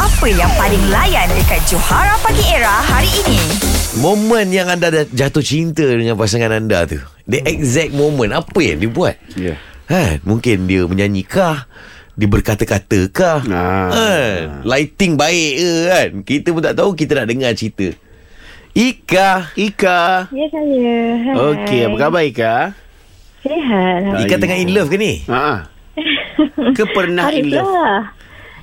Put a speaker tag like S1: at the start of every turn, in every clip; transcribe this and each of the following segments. S1: Apa yang paling layan dekat Johara Pagi Era hari ini?
S2: Momen yang anda dah jatuh cinta dengan pasangan anda tu. The exact moment apa yang dia buat?
S3: Ya.
S2: Ha, mungkin dia menyanyi kah? Dia berkata-kata kah?
S3: Ah.
S2: Ha, lighting baik ke kan? Kita pun tak tahu kita nak dengar cerita. Ika,
S3: Ika.
S4: Ya saya. Hai.
S3: Okey, apa khabar Ika?
S4: Sihat.
S2: Ika tengah in love ke ni?
S3: Ha ah. Ke pernah
S4: Hari
S3: in
S4: tu
S3: love?
S4: lah.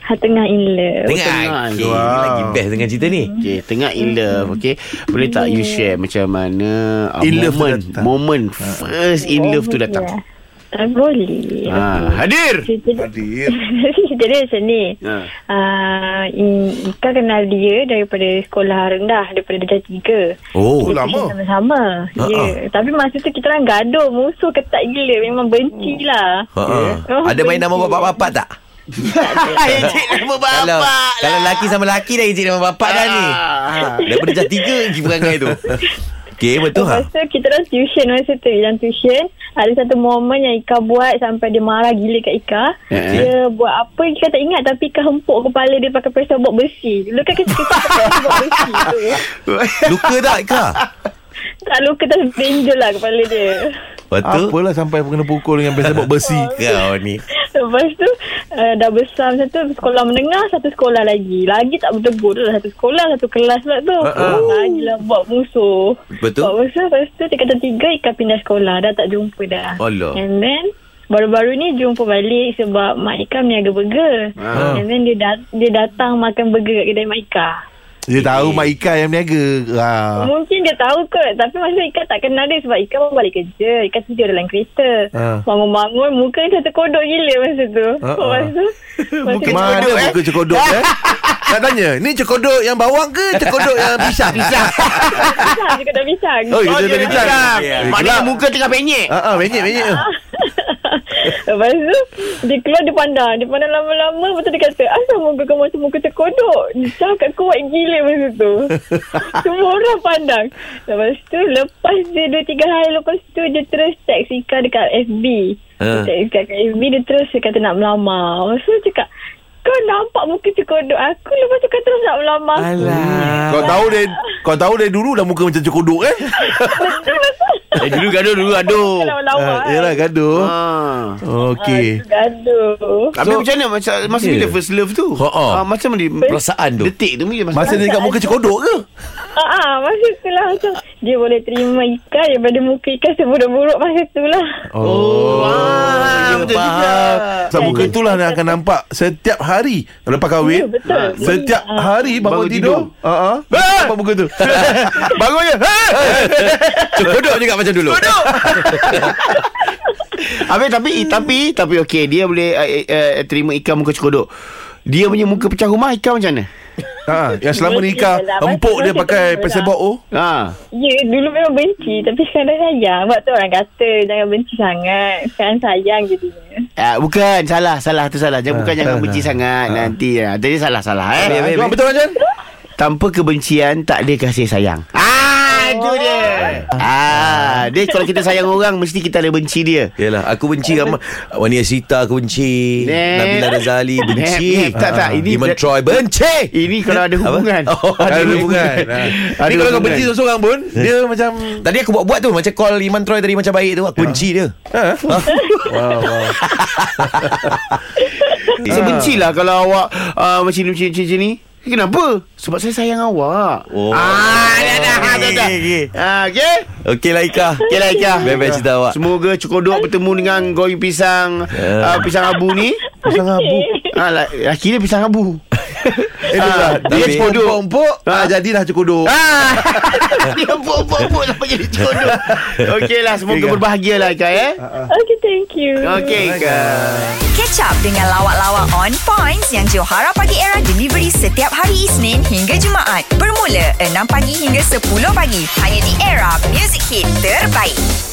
S4: Ha, tengah in love.
S2: Tengah
S3: tengah.
S2: okay.
S3: Wow.
S2: Lagi best dengan cerita ni
S3: Okey, tengah in love, okey. Boleh tak you share macam mana uh,
S2: In love tu
S3: moment,
S2: datang.
S3: moment first in love tu datang?
S4: Ya. Tak boleh.
S3: Ha, hadir.
S4: Cerita dia, cerita dia macam ni.
S3: Ha.
S4: Uh, Ika kenal dia daripada sekolah rendah, daripada darjah tiga.
S2: Oh
S4: Kita
S5: lama.
S4: Sama-sama. Ya.
S3: Ah,
S2: Ha,
S4: Yeah. Tapi masa tu kita orang gaduh, musuh ketat gila. Memang benci lah.
S2: Ha, ha.
S4: Oh,
S2: Ada main nama
S4: benci.
S2: bapak-bapak tak?
S3: Ejek nama bapak
S2: kalau,
S3: lah.
S2: Kalau lelaki sama lelaki dah ejek nama bapak dah ni
S3: Ah.
S2: Daripada dah tiga lagi perangai tu Okey betul ha?
S4: Lepas tu kita orang tuition masa tu Yang tuition Ada satu momen yang Ika buat Sampai dia marah gila kat Ika
S3: Eh, eh.
S4: Dia buat apa Ika tak ingat Tapi Ika hempuk kepala dia Pakai perisai bot besi Dulu kan kita kita pakai perisai bot besi tu
S2: Luka tak Ika?
S4: Tak luka tak benjol lah kepala dia
S2: Lepas tu
S5: Apalah sampai kena pukul dengan pesebok besi.
S2: Kau ni
S4: Lepas tu uh, Dah besar macam tu Sekolah menengah Satu sekolah lagi Lagi tak bertegur tu lah. Satu sekolah Satu kelas pula tu
S3: Ah,
S2: Uh-uh.
S4: Lagi lah buat musuh
S2: Betul.
S4: Buat musuh Oh, Lepas tu dekat tahun tiga Ika pindah sekolah Dah tak jumpa dah
S2: Allah.
S4: And then Baru-baru ni jumpa balik sebab Mak Ika meniaga burger.
S3: Ah.
S5: Ha.
S4: And then dia, dat- dia datang makan burger kat kedai Mak Ika.
S5: Dia tahu Mak Ika yang niaga. Ha.
S4: Mungkin dia tahu kot Tapi masa Ika tak kenal dia Sebab Ika baru balik kerja Ika tidur dalam kereta
S5: Ha.
S4: Bangun-bangun Muka dia terkodok gila masa tu
S5: Ha, ha.
S4: Lepas tu masa tu-
S5: Mana muka cekodok eh? Nak tanya, ni cekodok yang bawang ke cekodok yang pisang? Pisang.
S4: pisang Dia kena pisang
S5: Oh,
S3: dia
S5: kita tadi
S3: dah
S5: pisang.
S3: pisang.
S2: Ya.
S3: Maknanya muka tengah penyek.
S5: Ha ah, menyek menyek.
S4: Lepas tu Dia keluar dia pandang Dia pandang lama-lama Lepas tu dia kata Asal muka kau macam muka terkodok Dia cakap kuat gila masa tu Semua orang pandang Lepas tu Lepas dia 2-3 hari Lepas tu dia terus Text Ika dekat FB
S2: Ha.
S4: Dia Text Ika dekat FB Dia terus dia kata nak melamar Lepas tu dia cakap Kau nampak muka terkodok aku Lepas tu kau terus nak melamar aku."
S5: Kau tahu dia kau tahu dari dulu dah muka macam cekodok kan?
S3: Eh, dulu gaduh, dulu gaduh.
S4: Kau Lama-lama
S5: Ah,
S4: kan?
S5: Yalah gaduh.
S3: Ha.
S4: Ah,
S5: Okey.
S4: Gaduh
S3: Habis so, macam mana masa, masa
S2: Ya.
S3: bila first love tu?
S2: Ha, ha.
S3: Ah, macam mana dia
S2: Perasaan tu.
S3: Detik tu bila masa,
S5: Masa dia dekat muka cekodok ke?
S4: Ah, ah, masa tu lah macam dia boleh terima Ika daripada muka Ika seburuk-buruk masa tu lah.
S3: Oh, ah, betul juga.
S5: Sebab muka itulah yang akan nampak setiap hari lepas
S4: Ya,
S5: kahwin.
S4: betul.
S5: Ha, Setiap
S4: Ya.
S5: hari
S3: Bangun
S5: bangun
S3: tidur.
S5: tidur. Ha ah. Nampak muka tu. Ah.
S3: Bangun je. Ha!
S2: Kodok juga macam dulu Kodok
S3: Habis tapi tapi tapi okey dia boleh uh, uh, terima ikan muka cekodok. Dia punya muka pecah rumah ikan macam mana?
S5: Ha, yang selama ni Ika
S4: Betul lah.
S5: empuk
S4: Betul
S5: dia
S4: lah.
S5: pakai
S4: Betul lah.
S5: pesebok oh.
S3: Ha.
S4: Ya, dulu memang benci tapi sekarang dah sayang. Sebab tu orang kata jangan benci sangat. Sekarang sayang jadinya.
S3: Ah, bukan salah salah tu salah. Jangan bukan
S5: tak
S3: jangan
S5: lah.
S3: benci sangat nanti. Ah, tadi salah salah eh.
S5: Ah, Jual betul macam?
S3: Tanpa kebencian tak ada kasih sayang. Ah,
S5: Oh.
S3: itu dia.
S5: Ha.
S3: Ah, dia kalau kita sayang orang mesti kita ada benci dia.
S2: Yalah aku benci ramai Wani Asita aku benci
S3: Nep.
S2: Nabila Razali benci Ah,
S3: Nep, nep. Tak, tak. Ini-
S2: Iman Troy benci
S3: Ini kalau ada
S2: Apa?
S3: hubungan.
S2: Oh,
S5: Ada hubungan. Ha.
S3: Ada
S5: Ni kalau kau
S3: hubungan.
S5: benci seorang pun, dia macam
S2: Tadi aku buat-buat tu Macam call Iman Troy tadi macam baik tu
S3: Ya.
S2: Aku benci dia
S5: wow wow.
S3: Saya bencilah kalau awak uh, macam ni, macam ni, macam ni. Kenapa? Sebab saya sayang awak.
S2: Oh.
S3: Ah, dah, dah, dah, dah, dah.
S2: Okey.
S3: Ah, okey?
S2: Okey lah Ika
S3: Okey lah, Ika.
S2: Bebek cerita awak
S3: Semoga cekodok bertemu dengan goyang pisang
S2: Ya.
S3: uh, pisang abu ni.
S5: Pisang abu.
S3: Ah, la- laki dia pisang abu.
S5: Eh,
S2: lah.
S3: Ah,
S5: dia
S3: tapi-
S5: cekodok-empuk.
S3: Ah.
S2: Ha,
S5: Ah, jadilah cekodok.
S3: Ah, dia buat-buat-buat sampai jadi cekodok. Okey lah, semoga
S5: Okey, Ika.
S3: berbahagia lah Ika eh.
S4: ah. Okay, thank you.
S3: Okey Ika.
S1: Catch up dengan lawak-lawak on points yang Johara Pagi Era delivery setiap hari Isnin hingga Jumaat. Bermula 6 pagi hingga 10 pagi. Hanya di Era Music Hit Terbaik.